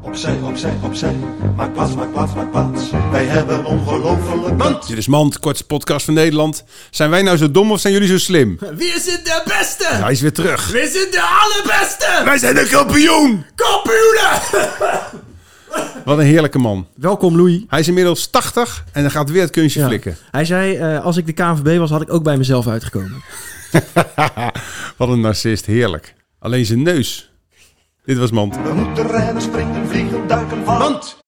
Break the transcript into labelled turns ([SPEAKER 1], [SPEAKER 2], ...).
[SPEAKER 1] Opzij, opzij, opzij. Maak plaats, maak plaats, maak plaats. Wij hebben ongelofelijk mand.
[SPEAKER 2] Dit is Mand, kortste podcast van Nederland. Zijn wij nou zo dom of zijn jullie zo slim?
[SPEAKER 3] Wie is het de beste?
[SPEAKER 2] Hij is weer terug.
[SPEAKER 3] Wie is het de allerbeste?
[SPEAKER 2] Wij zijn de kampioen!
[SPEAKER 3] Kampioenen!
[SPEAKER 2] Wat een heerlijke man.
[SPEAKER 4] Welkom Louis.
[SPEAKER 2] Hij is inmiddels 80 en dan gaat weer het kunstje
[SPEAKER 4] Ja.
[SPEAKER 2] flikken.
[SPEAKER 4] Hij zei, eh, als ik de KNVB was, had ik ook bij mezelf uitgekomen.
[SPEAKER 2] Wat een narcist, heerlijk. Alleen zijn neus. Dit was Mand.
[SPEAKER 1] We moeten rennen, springen, vliegen, duiken, van. Mand.